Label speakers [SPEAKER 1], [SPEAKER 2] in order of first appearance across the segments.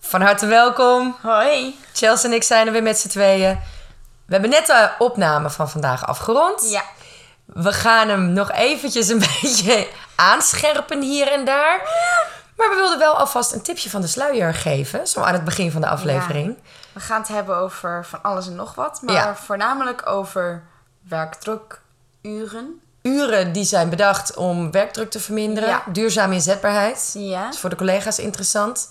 [SPEAKER 1] Van harte welkom.
[SPEAKER 2] Hoi.
[SPEAKER 1] Chelsea en ik zijn er weer met z'n tweeën. We hebben net de opname van vandaag afgerond.
[SPEAKER 2] Ja.
[SPEAKER 1] We gaan hem nog eventjes een beetje aanscherpen hier en daar. Maar we wilden wel alvast een tipje van de sluier geven. Zo aan het begin van de aflevering.
[SPEAKER 2] We gaan het hebben over van alles en nog wat, maar
[SPEAKER 1] Ja.
[SPEAKER 2] voornamelijk over werkdruk, uren.
[SPEAKER 1] Uren die zijn bedacht om werkdruk te verminderen.
[SPEAKER 2] Ja.
[SPEAKER 1] Duurzame inzetbaarheid.
[SPEAKER 2] Ja.
[SPEAKER 1] Dat is voor de collega's interessant.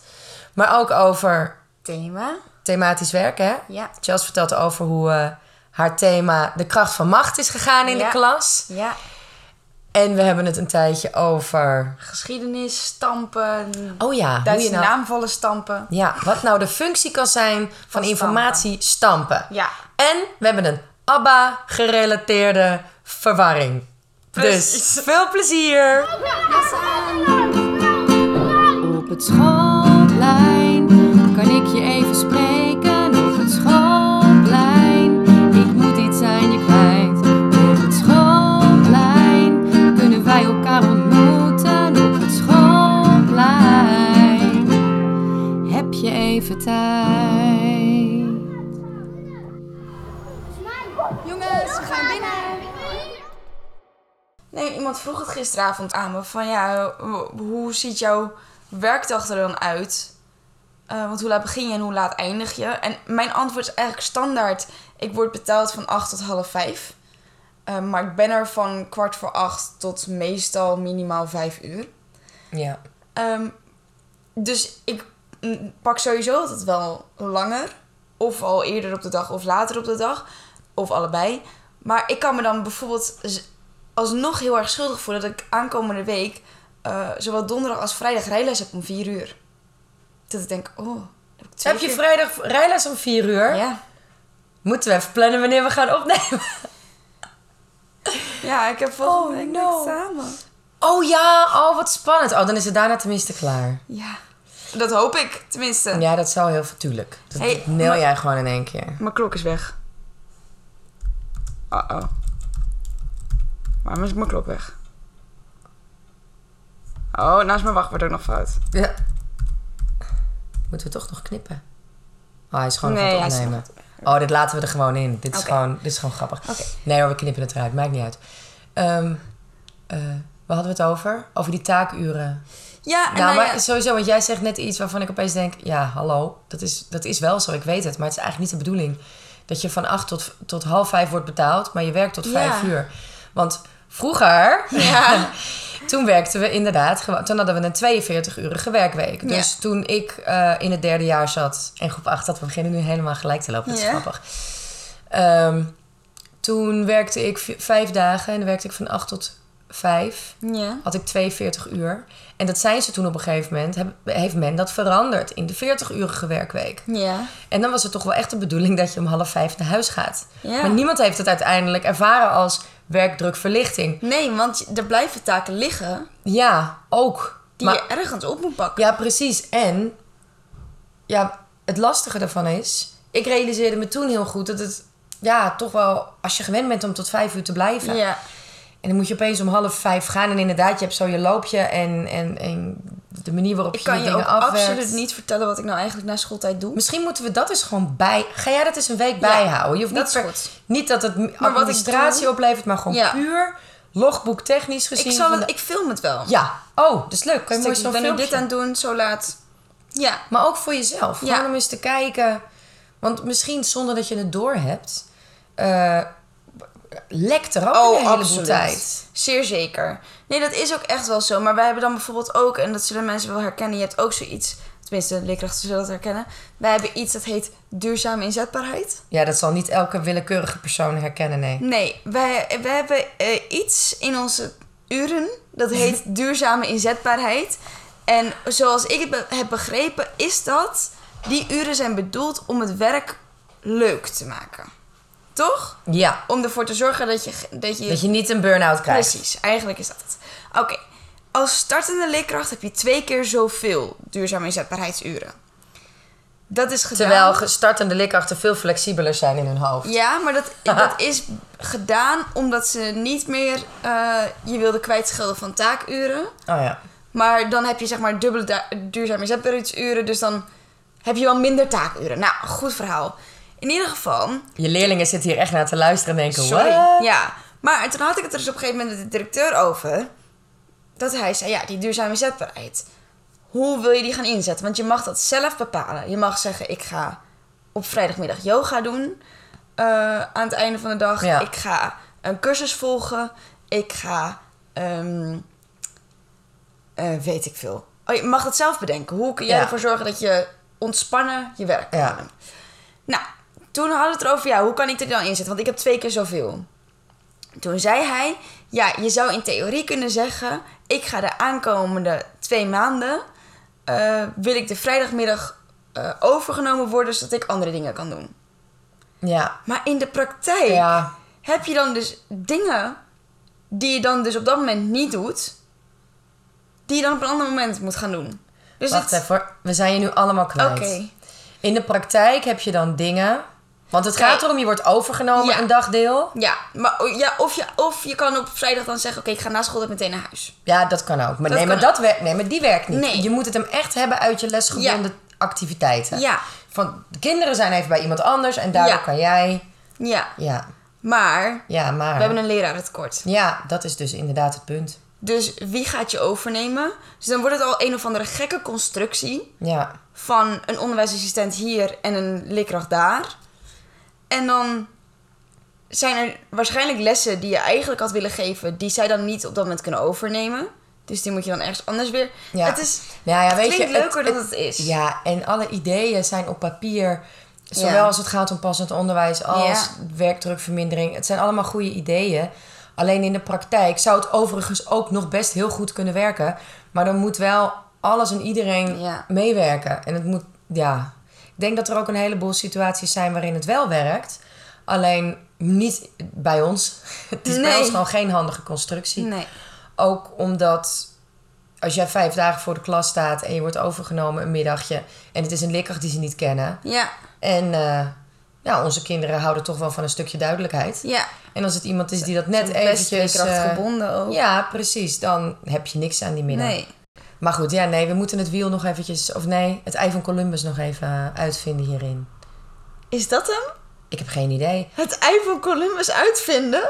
[SPEAKER 1] Maar ook over
[SPEAKER 2] Thema.
[SPEAKER 1] thematisch werken. Hè?
[SPEAKER 2] Ja.
[SPEAKER 1] Chels vertelt over hoe eh, haar thema de kracht van macht is gegaan in
[SPEAKER 2] Ja.
[SPEAKER 1] de klas.
[SPEAKER 2] Ja.
[SPEAKER 1] En we hebben het een tijdje over.
[SPEAKER 2] Geschiedenis, stampen.
[SPEAKER 1] Oh ja, hoe
[SPEAKER 2] Duitse
[SPEAKER 1] je nou,
[SPEAKER 2] naamvallen stampen.
[SPEAKER 1] ja, wat nou de functie kan zijn van,
[SPEAKER 2] stampen.
[SPEAKER 1] informatie stampen.
[SPEAKER 2] Ja.
[SPEAKER 1] En we hebben een ABBA-gerelateerde verwarring.
[SPEAKER 2] Precies.
[SPEAKER 1] Dus veel plezier!
[SPEAKER 3] Op het schoolplein kan ik je even spreken. Op het schoolplein, ik moet iets aan je kwijt. Op het schoolplein kunnen wij elkaar ontmoeten. Op het schoolplein heb je even tijd.
[SPEAKER 4] Jongens, we gaan binnen.
[SPEAKER 2] Nee, iemand vroeg het gisteravond aan me van ja, ho- hoe ziet jouw werkdag er dan uit? Eh, want hoe laat begin je en hoe laat eindig je? En mijn antwoord is eigenlijk standaard. Ik word betaald van 8 tot half 5. maar ik ben er van kwart voor 8 tot meestal minimaal 5 uur.
[SPEAKER 1] Ja.
[SPEAKER 2] Ehm, dus ik mm, pak sowieso altijd wel langer. Of al eerder op de dag of later op de dag. Of allebei. Maar ik kan me dan bijvoorbeeld z- alsnog heel erg schuldig voelen dat ik aankomende week eh, zowel donderdag als vrijdag rijles heb om 4 uur. Dat ik denk, oh, heb ik twee
[SPEAKER 1] Heb je
[SPEAKER 2] keer-
[SPEAKER 1] vrijdag rijles om 4 uur?
[SPEAKER 2] Ja.
[SPEAKER 1] Moeten we even plannen wanneer we gaan opnemen?
[SPEAKER 2] ja, ik heb volgende
[SPEAKER 1] Oh,
[SPEAKER 2] week
[SPEAKER 1] no.
[SPEAKER 2] samen.
[SPEAKER 1] Oh ja, oh wat spannend. Oh, dan is het daarna tenminste klaar.
[SPEAKER 2] Ja, dat hoop ik tenminste.
[SPEAKER 1] Ja, dat zal heel veel, tuurlijk. Dat
[SPEAKER 2] Hey,
[SPEAKER 1] neel
[SPEAKER 2] maar-
[SPEAKER 1] jij gewoon in één keer.
[SPEAKER 2] Mijn klok is weg. Uh-oh. Waarom is mijn klok weg? Oh, nou is mijn wachtwoord ook nog fout.
[SPEAKER 1] Ja. Moeten we toch nog knippen? Oh, hij is gewoon
[SPEAKER 2] Nee,
[SPEAKER 1] nog aan
[SPEAKER 2] hij
[SPEAKER 1] het
[SPEAKER 2] is
[SPEAKER 1] opnemen. Oh, dit laten we er gewoon in. Dit is,
[SPEAKER 2] Oké.
[SPEAKER 1] gewoon, dit is gewoon grappig. Nee hoor, we knippen het eruit. Maakt niet uit. Ehm eh, waar hadden we het over? Over die taakuren.
[SPEAKER 2] Ja, en
[SPEAKER 1] nou,
[SPEAKER 2] nou,
[SPEAKER 1] maar
[SPEAKER 2] ja,
[SPEAKER 1] sowieso, want jij zegt net iets waarvan ik opeens denk... Ja, hallo, dat is, dat is wel zo, ik weet het. Maar het is eigenlijk niet de bedoeling. Dat je van acht tot, tot half vijf wordt betaald... maar je werkt tot
[SPEAKER 2] Ja.
[SPEAKER 1] vijf uur. Want vroeger...
[SPEAKER 2] Ja.
[SPEAKER 1] toen werkten we inderdaad... gewoon- Toen hadden we een 42-urige werkweek. Dus toen ik eh, in het derde jaar zat... en groep acht zat, we beginnen nu helemaal gelijk te lopen. Dat is
[SPEAKER 2] Ja.
[SPEAKER 1] grappig. Ehm, toen werkte ik vi- vijf dagen... en dan werkte ik van acht tot vijf
[SPEAKER 2] ja.
[SPEAKER 1] had ik 42 uur. En dat zijn ze toen op een gegeven moment, heb- heeft men dat veranderd in de 40-urige werkweek.
[SPEAKER 2] Ja.
[SPEAKER 1] En dan was het toch wel echt de bedoeling dat je om half vijf naar huis gaat.
[SPEAKER 2] Ja.
[SPEAKER 1] Maar niemand heeft het uiteindelijk ervaren als werkdrukverlichting.
[SPEAKER 2] Nee, want je- er blijven taken liggen
[SPEAKER 1] Ja, ook.
[SPEAKER 2] die
[SPEAKER 1] Maar-
[SPEAKER 2] je ergens op moet pakken.
[SPEAKER 1] Ja, precies. En ja, het lastige daarvan is, ik realiseerde me toen heel goed dat het ja, toch wel, als je gewend bent om tot vijf uur te blijven.
[SPEAKER 2] Ja.
[SPEAKER 1] En dan moet je opeens om half vijf gaan. En inderdaad, je hebt zo je loopje en, en, en de manier waarop
[SPEAKER 2] Ik
[SPEAKER 1] je
[SPEAKER 2] kan
[SPEAKER 1] de
[SPEAKER 2] je
[SPEAKER 1] dingen
[SPEAKER 2] ook
[SPEAKER 1] afwerkt.
[SPEAKER 2] absoluut niet vertellen wat ik nou eigenlijk na schooltijd doe.
[SPEAKER 1] Misschien moeten we dat eens gewoon bij. Ga jij dat eens een week bijhouden? Je hoeft
[SPEAKER 2] dat
[SPEAKER 1] niet,
[SPEAKER 2] is
[SPEAKER 1] per-
[SPEAKER 2] goed.
[SPEAKER 1] niet dat het m-
[SPEAKER 2] wat ik
[SPEAKER 1] administratie
[SPEAKER 2] doe-
[SPEAKER 1] oplevert, maar gewoon
[SPEAKER 2] Ja.
[SPEAKER 1] puur logboek technisch gezien.
[SPEAKER 2] Ik, zal
[SPEAKER 1] van
[SPEAKER 2] het,
[SPEAKER 1] de-
[SPEAKER 2] ik film het wel.
[SPEAKER 1] Ja. Oh, dat is leuk. Kan je
[SPEAKER 2] Dus
[SPEAKER 1] mooi
[SPEAKER 2] ik
[SPEAKER 1] zo'n
[SPEAKER 2] ben nu
[SPEAKER 1] filmpje. Oh,
[SPEAKER 2] dit aan het doen, zo laat. Ja.
[SPEAKER 1] Maar ook voor jezelf.
[SPEAKER 2] Ja.
[SPEAKER 1] Gewoon om eens te kijken. Want misschien zonder dat je het doorhebt, eh lekt er ook
[SPEAKER 2] Oh,
[SPEAKER 1] een heleboel tijd.
[SPEAKER 2] Zeer zeker. Nee, dat is ook echt wel zo. Maar wij hebben dan bijvoorbeeld ook, en dat zullen mensen wel herkennen, je hebt ook zoiets. Tenminste, leerkrachten zullen dat herkennen. Wij hebben iets dat heet duurzame inzetbaarheid.
[SPEAKER 1] Ja, dat zal niet elke willekeurige persoon herkennen, nee.
[SPEAKER 2] Nee, wij, wij hebben eh, iets in onze uren dat heet duurzame inzetbaarheid. En zoals ik het be- heb begrepen, is dat die uren zijn bedoeld om het werk leuk te maken. Toch?
[SPEAKER 1] Ja.
[SPEAKER 2] Om ervoor te zorgen dat je, ge- dat je
[SPEAKER 1] Dat je niet een burn-out krijgt.
[SPEAKER 2] Precies, eigenlijk is dat het. Oké, als startende leerkracht heb je twee keer zoveel duurzame inzetbaarheidsuren. Dat is gedaan.
[SPEAKER 1] Terwijl ge- startende likkrachten veel flexibeler zijn in hun hoofd.
[SPEAKER 2] Ja, maar dat, dat is gedaan omdat ze niet meer eh, je wilden kwijtschelden van taakuren.
[SPEAKER 1] Oh ja.
[SPEAKER 2] Maar dan heb je zeg maar dubbele da- duurzame inzetbaarheidsuren. Dus dan heb je wel minder taakuren. Nou, goed verhaal. In ieder geval,
[SPEAKER 1] Je leerlingen zitten hier echt naar te luisteren en denken...
[SPEAKER 2] Sorry.
[SPEAKER 1] "What?"
[SPEAKER 2] Ja, maar toen had ik het er dus op een gegeven moment met de directeur over. Dat hij zei, ja, die duurzame zetbaarheid. Hoe wil je die gaan inzetten? Want je mag dat zelf bepalen. Je mag zeggen, ik ga op vrijdagmiddag yoga doen. eh, aan het einde van de dag.
[SPEAKER 1] Ja.
[SPEAKER 2] Ik ga een cursus volgen. Ik ga, ehm, eh, weet ik veel. Oh, je mag het zelf bedenken. Hoe kun jij
[SPEAKER 1] Ja.
[SPEAKER 2] ervoor zorgen dat je ontspannen je werk kan
[SPEAKER 1] Ja.
[SPEAKER 2] doen? Nou, toen hadden we het erover, ja, hoe kan ik dit dan inzetten? Want ik heb twee keer zoveel. Toen zei hij, ja, je zou in theorie kunnen zeggen... ik ga de aankomende twee maanden... eh, wil ik de vrijdagmiddag eh, overgenomen worden... zodat ik andere dingen kan doen.
[SPEAKER 1] Ja.
[SPEAKER 2] Maar in de praktijk
[SPEAKER 1] Ja.
[SPEAKER 2] heb je dan dus dingen... die je dan dus op dat moment niet doet... die je dan op een ander moment moet gaan doen. Dus
[SPEAKER 1] Wacht
[SPEAKER 2] het-
[SPEAKER 1] even hoor. We zijn je nu allemaal kwijt.
[SPEAKER 2] Oké.
[SPEAKER 1] In de praktijk heb je dan dingen... Want het
[SPEAKER 2] Kijk.
[SPEAKER 1] gaat erom, je wordt overgenomen
[SPEAKER 2] Ja.
[SPEAKER 1] een dagdeel.
[SPEAKER 2] Ja, maar, oh, ja of, je, of je kan op vrijdag dan zeggen... oké, ik ga na school dan meteen naar huis.
[SPEAKER 1] Ja, dat kan ook. Maar,
[SPEAKER 2] Dat
[SPEAKER 1] nee, maar
[SPEAKER 2] kan
[SPEAKER 1] dat werkt, nee, maar die werkt niet.
[SPEAKER 2] Nee.
[SPEAKER 1] Je moet het hem echt hebben uit je lesgebonden activiteiten.
[SPEAKER 2] Ja.
[SPEAKER 1] Van de kinderen zijn even bij iemand anders en daardoor
[SPEAKER 2] Ja.
[SPEAKER 1] kan jij.
[SPEAKER 2] Ja,
[SPEAKER 1] Ja,
[SPEAKER 2] maar...
[SPEAKER 1] ja maar.
[SPEAKER 2] We hebben een lerarentekort.
[SPEAKER 1] Ja, dat is dus inderdaad het punt.
[SPEAKER 2] Dus wie gaat je overnemen? Dus dan wordt het al een of andere gekke constructie
[SPEAKER 1] Ja.
[SPEAKER 2] van een onderwijsassistent hier en een leerkracht daar. En dan zijn er waarschijnlijk lessen die je eigenlijk had willen geven, die zij dan niet op dat moment kunnen overnemen. Dus die moet je dan ergens anders weer.
[SPEAKER 1] ja.
[SPEAKER 2] Het is
[SPEAKER 1] Nou ja, weet
[SPEAKER 2] klinkt
[SPEAKER 1] je, het-
[SPEAKER 2] leuker dan het, is.
[SPEAKER 1] Ja, en alle ideeën zijn op papier. Zowel
[SPEAKER 2] Ja.
[SPEAKER 1] als het gaat om passend onderwijs als werkdrukvermindering. Het zijn allemaal goede ideeën. Alleen in de praktijk zou het overigens ook nog best heel goed kunnen werken. Maar dan moet wel alles en iedereen
[SPEAKER 2] Ja.
[SPEAKER 1] meewerken. En het moet, ja. Ik denk dat er ook een heleboel situaties zijn waarin het wel werkt. Alleen niet bij ons. Het is bij
[SPEAKER 2] Nee.
[SPEAKER 1] ons gewoon geen handige constructie.
[SPEAKER 2] Nee.
[SPEAKER 1] Ook omdat als jij vijf dagen voor de klas staat en je wordt overgenomen een middagje en het is een leerkracht die ze niet kennen.
[SPEAKER 2] Ja.
[SPEAKER 1] En eh, nou, onze kinderen houden toch wel van een stukje duidelijkheid.
[SPEAKER 2] Ja.
[SPEAKER 1] En als het iemand is die dat net
[SPEAKER 2] Best
[SPEAKER 1] eventjes...
[SPEAKER 2] leerkracht
[SPEAKER 1] eh,
[SPEAKER 2] gebonden ook.
[SPEAKER 1] ja, precies. Dan heb je niks aan die middag.
[SPEAKER 2] Nee.
[SPEAKER 1] Maar goed, ja, nee, we moeten het wiel nog eventjes... Of nee, het ei van Columbus nog even eh, uitvinden hierin.
[SPEAKER 2] Is dat hem?
[SPEAKER 1] Ik heb geen idee.
[SPEAKER 2] Het ei van Columbus uitvinden?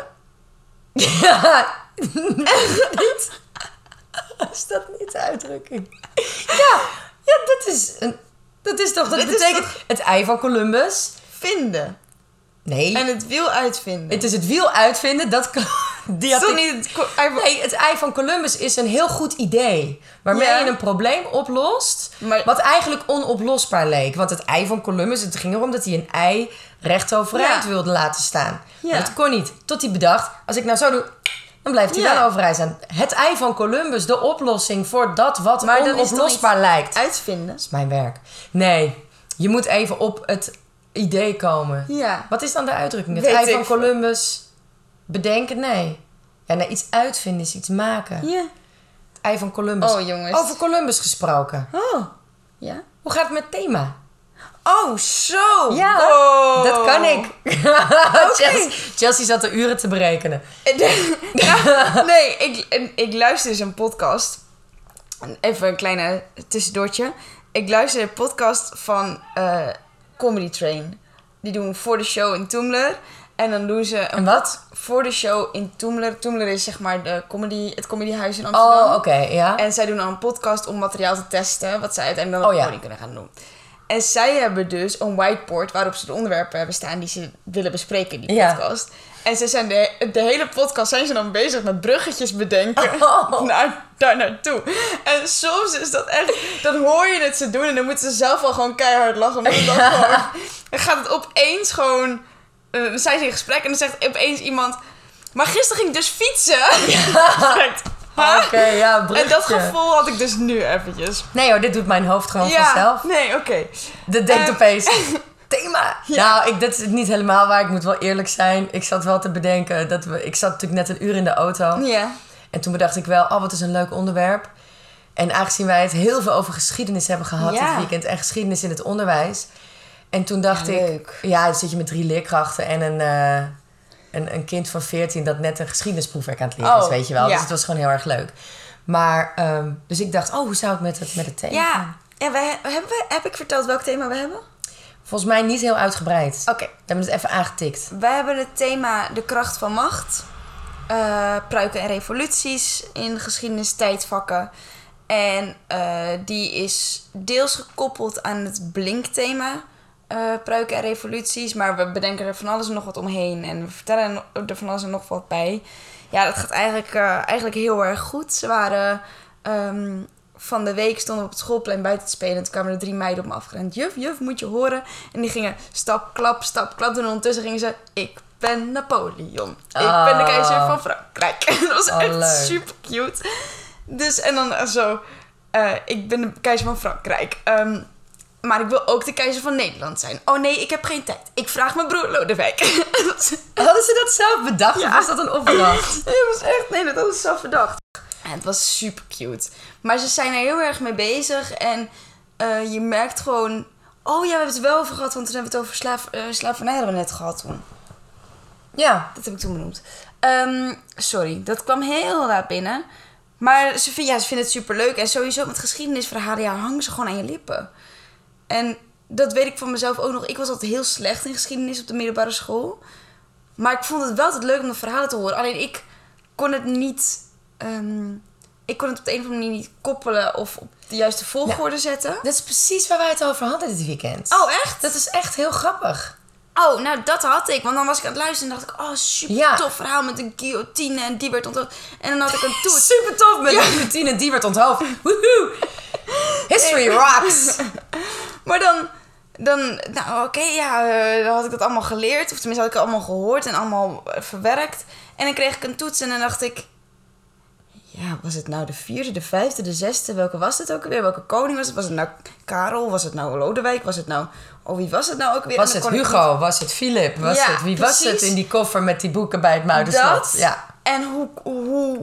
[SPEAKER 1] Is dat niet de uitdrukking? Ja, ja dat is... Een, dat is toch... Dat
[SPEAKER 2] Dit is
[SPEAKER 1] betekent het ei van Columbus.
[SPEAKER 2] Vinden.
[SPEAKER 1] Nee,
[SPEAKER 2] En het wiel uitvinden.
[SPEAKER 1] het is het wiel uitvinden. Dat kan... Die had
[SPEAKER 2] Is dat
[SPEAKER 1] ik-
[SPEAKER 2] niet het ko- ei van-
[SPEAKER 1] Nee, het ei van Columbus is een heel goed idee. Waarmee
[SPEAKER 2] Ja.
[SPEAKER 1] je een probleem oplost.
[SPEAKER 2] Maar-
[SPEAKER 1] Wat eigenlijk onoplosbaar leek. Want het ei van Columbus, het ging erom dat hij een ei recht overeind
[SPEAKER 2] Ja.
[SPEAKER 1] wilde laten staan.
[SPEAKER 2] Ja.
[SPEAKER 1] Maar dat kon niet. Tot hij bedacht, als ik nou zo doe, dan blijft hij
[SPEAKER 2] Ja.
[SPEAKER 1] wel overeind staan. Het ei van Columbus, de oplossing voor dat wat
[SPEAKER 2] Maar dan is het toch
[SPEAKER 1] onoplosbaar lijkt. Dat
[SPEAKER 2] Uitvinden.
[SPEAKER 1] is mijn werk. Nee, je moet even op het idee komen.
[SPEAKER 2] Ja.
[SPEAKER 1] Wat is dan de uitdrukking? Het
[SPEAKER 2] Weet
[SPEAKER 1] ei
[SPEAKER 2] ik
[SPEAKER 1] van
[SPEAKER 2] veel.
[SPEAKER 1] Columbus bedenken? Nee. Ja, nee, iets uitvinden is iets maken.
[SPEAKER 2] Ja.
[SPEAKER 1] Het ei van Columbus.
[SPEAKER 2] Oh, jongens.
[SPEAKER 1] Over Columbus gesproken.
[SPEAKER 2] Oh. Ja.
[SPEAKER 1] Hoe gaat het met thema?
[SPEAKER 2] Oh, zo. Wow.
[SPEAKER 1] Wow. dat kan ik.
[SPEAKER 2] Oh.
[SPEAKER 1] Chelsea, Chelsea zat er uren te berekenen.
[SPEAKER 2] Ja, nee, ik, en ik luister dus een podcast. Even een kleine tussendoortje. Ik luister een podcast van eh, Comedy Train. Die doen voor de show in Toemler. En dan doen ze een
[SPEAKER 1] En wat?
[SPEAKER 2] voor de show in Toemler. Toemler is zeg maar de comedy, het comedyhuis in Amsterdam.
[SPEAKER 1] Oh, oké, ja.
[SPEAKER 2] En zij doen dan een podcast om materiaal te testen. Wat zij uiteindelijk dan
[SPEAKER 1] Oh,
[SPEAKER 2] op
[SPEAKER 1] ja.
[SPEAKER 2] podium kunnen gaan doen. En zij hebben dus een whiteboard waarop ze de onderwerpen hebben staan die ze willen bespreken in die
[SPEAKER 1] Ja.
[SPEAKER 2] podcast. En ze zijn de, de hele podcast zijn ze dan bezig met bruggetjes bedenken
[SPEAKER 1] Oh.
[SPEAKER 2] naar, daar naartoe. En soms is dat echt, dan hoor je het ze doen en dan moeten ze zelf al gewoon keihard lachen. Omdat het dan gewoon, dan gaat het opeens gewoon, eh, dan zijn ze in gesprek en dan zegt opeens iemand, maar gisteren ging ik dus fietsen. Ja.
[SPEAKER 1] Oh, Oké, ja, bruggetje.
[SPEAKER 2] En dat gevoel had ik dus nu eventjes.
[SPEAKER 1] Nee hoor, dit doet mijn hoofd gewoon vanzelf.
[SPEAKER 2] nee, oké.
[SPEAKER 1] Dat denkt
[SPEAKER 2] Ehm.
[SPEAKER 1] opeens. Thema. Nou, ik, dat is niet helemaal waar. Ik moet wel eerlijk zijn. Ik zat wel te bedenken dat we. Ik zat natuurlijk net een uur in de auto.
[SPEAKER 2] Ja.
[SPEAKER 1] En toen bedacht ik wel, oh, wat is een leuk onderwerp. En aangezien wij het heel veel over geschiedenis hebben gehad
[SPEAKER 2] Ja.
[SPEAKER 1] dit weekend en geschiedenis in het onderwijs. En toen dacht
[SPEAKER 2] Ja,
[SPEAKER 1] ik,
[SPEAKER 2] leuk.
[SPEAKER 1] ja, dan zit je met drie leerkrachten en een, eh, een, een kind van 14 dat net een geschiedenisproefwerk aan het leren is,
[SPEAKER 2] Oh,
[SPEAKER 1] weet je wel.
[SPEAKER 2] ja.
[SPEAKER 1] Dus het was gewoon heel erg leuk. Maar, ehm, dus ik dacht, oh, hoe zou het met het, met het thema?
[SPEAKER 2] Ja,
[SPEAKER 1] gaan?
[SPEAKER 2] Ja, wij, hebben wij, heb ik verteld welk thema we hebben?
[SPEAKER 1] Volgens mij niet heel uitgebreid.
[SPEAKER 2] Oké.
[SPEAKER 1] We hebben het even aangetikt.
[SPEAKER 2] Wij hebben het thema de kracht van macht. eh, pruiken en revoluties in geschiedenis tijdvakken. En eh, die is deels gekoppeld aan het blinkthema. eh pruiken en revoluties. Maar we bedenken er van alles en nog wat omheen. En we vertellen er van alles en nog wat bij. Ja, dat gaat eigenlijk, eh, eigenlijk heel erg goed. Ze waren ehm, van de week stonden we op het schoolplein buiten te spelen. En toen kwamen er drie meiden op me afgerend. Juf, juf, moet je horen. En die gingen stap, klap, stap, klap. En ondertussen gingen ze... Ik ben Napoleon. Ik ben de keizer
[SPEAKER 1] Ah.
[SPEAKER 2] van Frankrijk. En dat was
[SPEAKER 1] Oh,
[SPEAKER 2] echt
[SPEAKER 1] leuk.
[SPEAKER 2] super cute. Dus, en dan eh, zo... eh, ik ben de keizer van Frankrijk. Ehm, maar ik wil ook de keizer van Nederland zijn. Oh nee, ik heb geen tijd. Ik vraag mijn broer Lodewijk. dat was-
[SPEAKER 1] Hadden ze dat zelf bedacht
[SPEAKER 2] Ja.
[SPEAKER 1] of was dat een opdracht?
[SPEAKER 2] het was echt, nee, dat hadden ze zelf verdacht. het was super cute. Maar ze zijn er heel erg mee bezig. En eh, je merkt gewoon. Oh ja, we hebben het er wel over gehad, want toen hebben we het over slaaf, eh, slavernij hebben we net gehad toen.
[SPEAKER 1] Ja.
[SPEAKER 2] Dat heb ik toen benoemd. Ehm, sorry, dat kwam heel laat binnen. Maar ze, vind, ja, ze vinden het superleuk. En sowieso met geschiedenisverhalen, ja, hangen ze gewoon aan je lippen. En dat weet ik van mezelf ook nog. Ik was altijd heel slecht in geschiedenis op de middelbare school. Maar ik vond het wel altijd leuk om de verhalen te horen. Alleen ik kon het niet... ehm, ik kon het op de een of andere manier niet koppelen of op de juiste volgorde zetten.
[SPEAKER 1] Dat is precies waar wij het over hadden dit weekend.
[SPEAKER 2] Oh, echt?
[SPEAKER 1] Dat is echt heel grappig.
[SPEAKER 2] Oh, nou dat had ik. Want dan was ik aan het luisteren en dacht ik... Oh, super
[SPEAKER 1] Ja.
[SPEAKER 2] tof verhaal met een guillotine en die werd ontdekt. En dan had ik een toets.
[SPEAKER 1] Super tof met ja. Tine die werd onthoofd. Woehoe. History rocks.
[SPEAKER 2] Maar dan, dan nou oké, ja, eh, dan had ik dat allemaal geleerd. Of tenminste had ik het allemaal gehoord en allemaal eh, verwerkt. En dan kreeg ik een toets en dan dacht ik... Ja, was het nou de vierde, de vijfde, de zesde? Welke was het ook weer? Welke koning was het? Was het nou Karel? Was het nou Lodewijk? Was het nou... Oh, wie was het nou ook weer?
[SPEAKER 1] Was
[SPEAKER 2] En
[SPEAKER 1] het
[SPEAKER 2] dan kon ik
[SPEAKER 1] Hugo? Was het Philip? Was
[SPEAKER 2] Ja,
[SPEAKER 1] het, wie was
[SPEAKER 2] precies.
[SPEAKER 1] het in die koffer met die boeken bij het Muiderslot?
[SPEAKER 2] Dat.
[SPEAKER 1] Ja.
[SPEAKER 2] En hoe, hoe...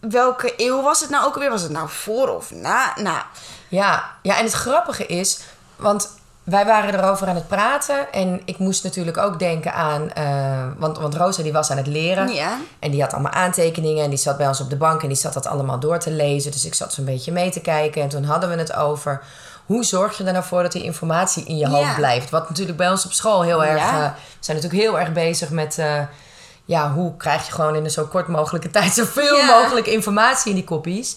[SPEAKER 2] Welke eeuw was het nou ook weer? Was het nou voor of na? Nou,
[SPEAKER 1] Ja, ja, en het grappige is, want wij waren erover aan het praten. En ik moest natuurlijk ook denken aan. eh, want, want Rosa die was aan het leren.
[SPEAKER 2] Ja.
[SPEAKER 1] En die had allemaal aantekeningen. En die zat bij ons op de bank en die zat dat allemaal door te lezen. Dus ik zat zo'n beetje mee te kijken. En toen hadden we het over. Hoe zorg je er nou voor dat die informatie in je
[SPEAKER 2] Ja.
[SPEAKER 1] hoofd blijft? Wat natuurlijk bij ons op school heel erg.
[SPEAKER 2] Ja.
[SPEAKER 1] eh, we zijn natuurlijk heel erg bezig met. eh, ja, hoe krijg je gewoon in een zo kort mogelijke tijd zoveel
[SPEAKER 2] Ja.
[SPEAKER 1] mogelijk informatie in die kopies?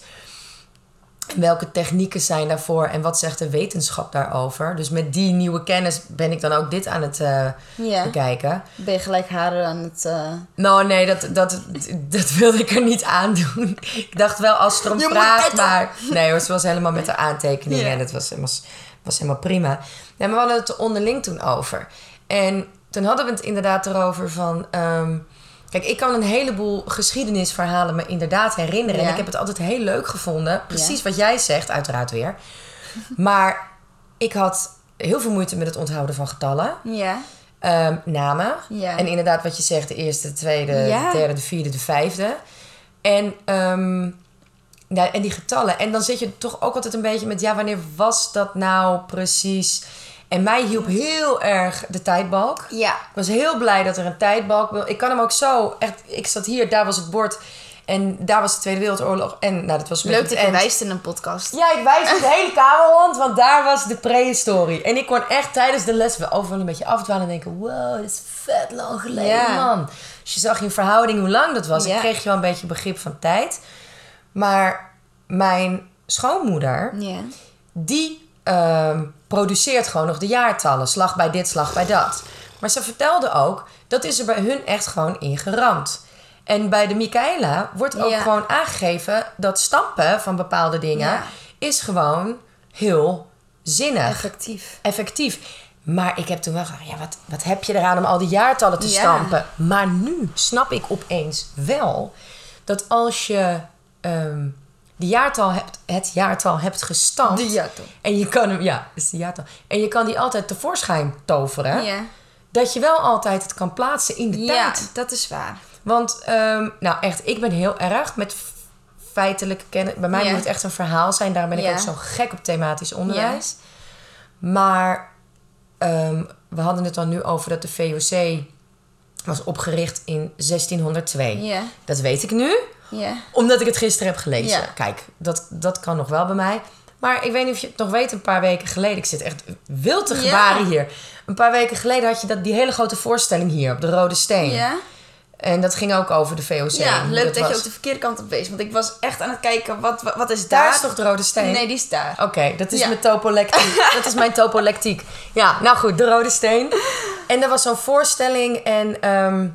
[SPEAKER 1] En Welke technieken zijn daarvoor en wat zegt de wetenschap daarover? Dus met die nieuwe kennis ben ik dan ook dit aan het eh,
[SPEAKER 2] Ja.
[SPEAKER 1] bekijken.
[SPEAKER 2] ben je gelijk haar aan het... eh,
[SPEAKER 1] Nou, nee, dat, dat, dat wilde ik er niet aandoen. Ik dacht wel als ze erom
[SPEAKER 2] Je moet
[SPEAKER 1] vraagt,
[SPEAKER 2] letten.
[SPEAKER 1] maar... Nee hoor, ze was helemaal met haar aantekeningen
[SPEAKER 2] Ja.
[SPEAKER 1] en dat was helemaal, was helemaal prima. Nee, maar we hadden het er onderling toen over. En toen hadden we het inderdaad erover van... ehm, kijk, ik kan een heleboel geschiedenisverhalen me inderdaad herinneren.
[SPEAKER 2] Ja.
[SPEAKER 1] En ik heb het altijd heel leuk gevonden. Precies wat jij zegt, uiteraard weer. Maar ik had heel veel moeite met het onthouden van getallen.
[SPEAKER 2] Ja.
[SPEAKER 1] Ehm, namen.
[SPEAKER 2] Ja.
[SPEAKER 1] En inderdaad, wat je zegt, de eerste, de tweede,
[SPEAKER 2] Ja.
[SPEAKER 1] de derde, de vierde, de vijfde. En, ehm, nou, en die getallen. En dan zit je toch ook altijd een beetje met, ja, wanneer was dat nou precies? En mij hielp heel erg de tijdbalk.
[SPEAKER 2] Ja.
[SPEAKER 1] Ik was heel blij dat er een tijdbalk... Ik kan hem ook zo... Echt, ik zat hier, daar was het bord. En daar was de Tweede Wereldoorlog. En nou, dat was een
[SPEAKER 2] Leuk dat
[SPEAKER 1] beetje
[SPEAKER 2] je
[SPEAKER 1] het eind.
[SPEAKER 2] wijst in een podcast.
[SPEAKER 1] Ja, ik wijs de hele kamer rond, want daar was de prehistorie. En ik kon echt tijdens de les wel overal een beetje afdwalen en denken... Wow, dit is vet lang geleden,
[SPEAKER 2] Ja.
[SPEAKER 1] man. Dus je zag in verhouding hoe lang dat was.
[SPEAKER 2] Ja.
[SPEAKER 1] Ik kreeg je wel een beetje begrip van tijd. Maar mijn schoonmoeder,
[SPEAKER 2] Ja.
[SPEAKER 1] die ehm, produceert gewoon nog de jaartallen. Slag bij dit, slag bij dat. Maar ze vertelde ook, dat is er bij hun echt gewoon ingeramd. En bij de Michaela wordt ook
[SPEAKER 2] Ja.
[SPEAKER 1] gewoon aangegeven dat stampen van bepaalde dingen
[SPEAKER 2] Ja.
[SPEAKER 1] is gewoon heel zinnig.
[SPEAKER 2] Effectief.
[SPEAKER 1] Effectief. Maar ik heb toen wel gedacht, ja, wat, wat heb je eraan om al die jaartallen te
[SPEAKER 2] Ja.
[SPEAKER 1] stampen? Maar nu snap ik opeens wel dat als je ehm de jaartal hebt, het jaartal hebt gestampt.
[SPEAKER 2] De jaartal.
[SPEAKER 1] En je kan hem, ja, dat is de jaartal. En je kan die altijd tevoorschijn toveren.
[SPEAKER 2] Ja.
[SPEAKER 1] Dat je wel altijd het kan plaatsen in de
[SPEAKER 2] Ja,
[SPEAKER 1] tijd.
[SPEAKER 2] dat is waar.
[SPEAKER 1] Want, ehm, nou echt, ik ben heel erg met f- feitelijke kennis. Bij mij
[SPEAKER 2] Ja.
[SPEAKER 1] moet het echt een verhaal zijn. Daarom ben ik
[SPEAKER 2] Ja.
[SPEAKER 1] ook zo gek op thematisch onderwijs. Maar ehm, we hadden het dan nu over dat de VOC was opgericht in 1602.
[SPEAKER 2] Ja.
[SPEAKER 1] Dat weet ik nu,
[SPEAKER 2] Ja.
[SPEAKER 1] omdat ik het gisteren heb gelezen.
[SPEAKER 2] Ja.
[SPEAKER 1] Kijk, dat, dat kan nog wel bij mij. Maar ik weet niet of je het nog weet, een paar weken geleden... Ik zit echt wild te
[SPEAKER 2] Ja.
[SPEAKER 1] gebaren hier. Een paar weken geleden had je dat, die hele grote voorstelling hier op de Rode Steen.
[SPEAKER 2] Ja?
[SPEAKER 1] En dat ging ook over de VOC.
[SPEAKER 2] Ja,
[SPEAKER 1] hoe
[SPEAKER 2] leuk dat, je
[SPEAKER 1] was.
[SPEAKER 2] ook de verkeerde kant op wees. Want ik was echt aan het kijken, wat, wat, wat is daar?
[SPEAKER 1] Daar is toch de Rode Steen?
[SPEAKER 2] Nee, die is daar.
[SPEAKER 1] Oké, dat is
[SPEAKER 2] Ja.
[SPEAKER 1] mijn topolectiek. dat is mijn topolectiek. Ja, nou goed, de Rode Steen. En er was zo'n voorstelling en ehm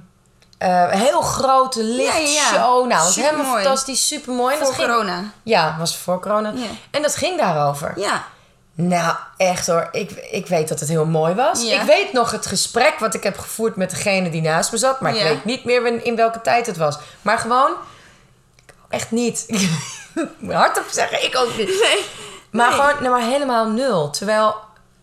[SPEAKER 1] eh, een heel grote lichtshow.
[SPEAKER 2] ja.
[SPEAKER 1] Nou, het was helemaal
[SPEAKER 2] Supermooi.
[SPEAKER 1] fantastisch, supermooi. En
[SPEAKER 2] Voor
[SPEAKER 1] dat ging-
[SPEAKER 2] corona.
[SPEAKER 1] Ja, was voor corona.
[SPEAKER 2] Ja.
[SPEAKER 1] En dat ging daarover.
[SPEAKER 2] Ja.
[SPEAKER 1] Nou, echt hoor. Ik, ik weet dat het heel mooi was.
[SPEAKER 2] Ja.
[SPEAKER 1] Ik weet nog het gesprek wat ik heb gevoerd met degene die naast me zat. Maar ik
[SPEAKER 2] Ja.
[SPEAKER 1] weet niet meer wen- in welke tijd het was. Maar gewoon, echt niet. Hardop zeggen, ik ook niet. Maar
[SPEAKER 2] Nee.
[SPEAKER 1] gewoon, nou, maar helemaal nul. Terwijl,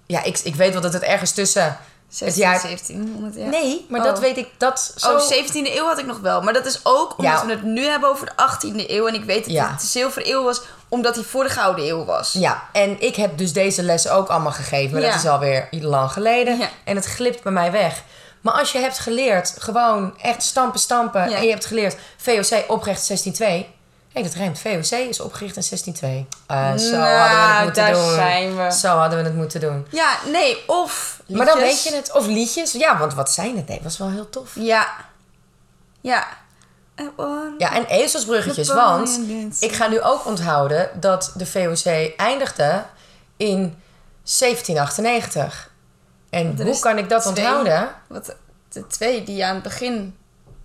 [SPEAKER 1] ja, ik, ik weet wel dat het ergens tussen
[SPEAKER 2] 16,
[SPEAKER 1] het jaar...
[SPEAKER 2] 1700 jaar.
[SPEAKER 1] Nee, maar
[SPEAKER 2] Oh.
[SPEAKER 1] dat weet ik, dat zo...
[SPEAKER 2] Oh, 17e eeuw had ik nog wel. Maar dat is ook omdat
[SPEAKER 1] Ja.
[SPEAKER 2] we het nu hebben over de 18e eeuw. En ik weet dat
[SPEAKER 1] Ja.
[SPEAKER 2] het de zilveren eeuw was, omdat die voor de gouden eeuw was.
[SPEAKER 1] Ja, en ik heb dus deze les ook allemaal gegeven. Maar
[SPEAKER 2] Ja.
[SPEAKER 1] dat is alweer lang geleden.
[SPEAKER 2] Ja.
[SPEAKER 1] En het glipt bij mij weg. Maar als je hebt geleerd, gewoon echt stampen, stampen.
[SPEAKER 2] Ja.
[SPEAKER 1] En je hebt geleerd, VOC opgericht 16-2. hey, dat rijmt. VOC is opgericht in 16-2. Eh, zo hadden
[SPEAKER 2] Nou,
[SPEAKER 1] we het moeten
[SPEAKER 2] daar
[SPEAKER 1] doen.
[SPEAKER 2] zijn we.
[SPEAKER 1] Zo hadden we het moeten doen.
[SPEAKER 2] Ja, nee, of
[SPEAKER 1] Maar dan weet
[SPEAKER 2] liedjes.
[SPEAKER 1] je het. Of liedjes. Ja, want wat zijn het? Nee, was wel heel tof.
[SPEAKER 2] Ja. Ja. Eh, hoor.
[SPEAKER 1] Ja, en ezelsbruggetjes.
[SPEAKER 2] De Palladium
[SPEAKER 1] Want
[SPEAKER 2] Dance.
[SPEAKER 1] ik ga nu ook onthouden dat de VOC eindigde in 1798. En
[SPEAKER 2] Er
[SPEAKER 1] hoe
[SPEAKER 2] is
[SPEAKER 1] kan ik dat
[SPEAKER 2] twee.
[SPEAKER 1] onthouden?
[SPEAKER 2] Wat de, de twee die je aan het begin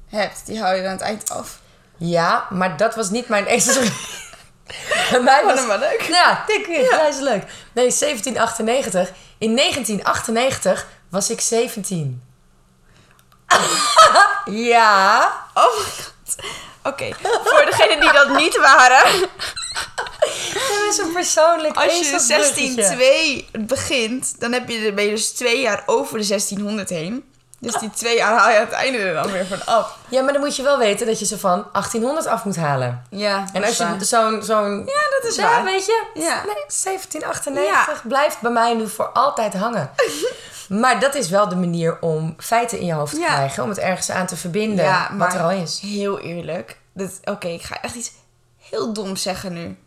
[SPEAKER 2] hebt, die hou je aan het eind af.
[SPEAKER 1] Ja, maar dat was niet mijn ezelsbrug. Bij mij was...
[SPEAKER 2] wel leuk.
[SPEAKER 1] Ja, dik ja. dat is leuk. Nee, 1798. In 1998 was ik 17. ja.
[SPEAKER 2] Oh my god. Oké, voor degenen die dat niet waren.
[SPEAKER 1] Dat is een persoonlijk
[SPEAKER 2] Als
[SPEAKER 1] ezelsbruggetje.
[SPEAKER 2] je 16-2 begint, dan heb je, dan ben je dus twee jaar over de 1600 heen. Dus die twee jaar haal je aan het einde er dan weer van af.
[SPEAKER 1] Ja, maar dan moet je wel weten dat je ze van 1800 af moet halen.
[SPEAKER 2] Ja,
[SPEAKER 1] En als je zo'n... zo'n
[SPEAKER 2] dus- Ja, dat is
[SPEAKER 1] ja,
[SPEAKER 2] waar.
[SPEAKER 1] weet je?
[SPEAKER 2] Ja.
[SPEAKER 1] Nee, 1798 blijft bij mij nu voor altijd hangen. maar dat is wel de manier om feiten in je hoofd te
[SPEAKER 2] Ja.
[SPEAKER 1] krijgen. Om het ergens aan te verbinden
[SPEAKER 2] Ja,
[SPEAKER 1] wat
[SPEAKER 2] maar-
[SPEAKER 1] er al is.
[SPEAKER 2] Heel eerlijk. dat- Oké, ik ga echt iets heel doms zeggen nu.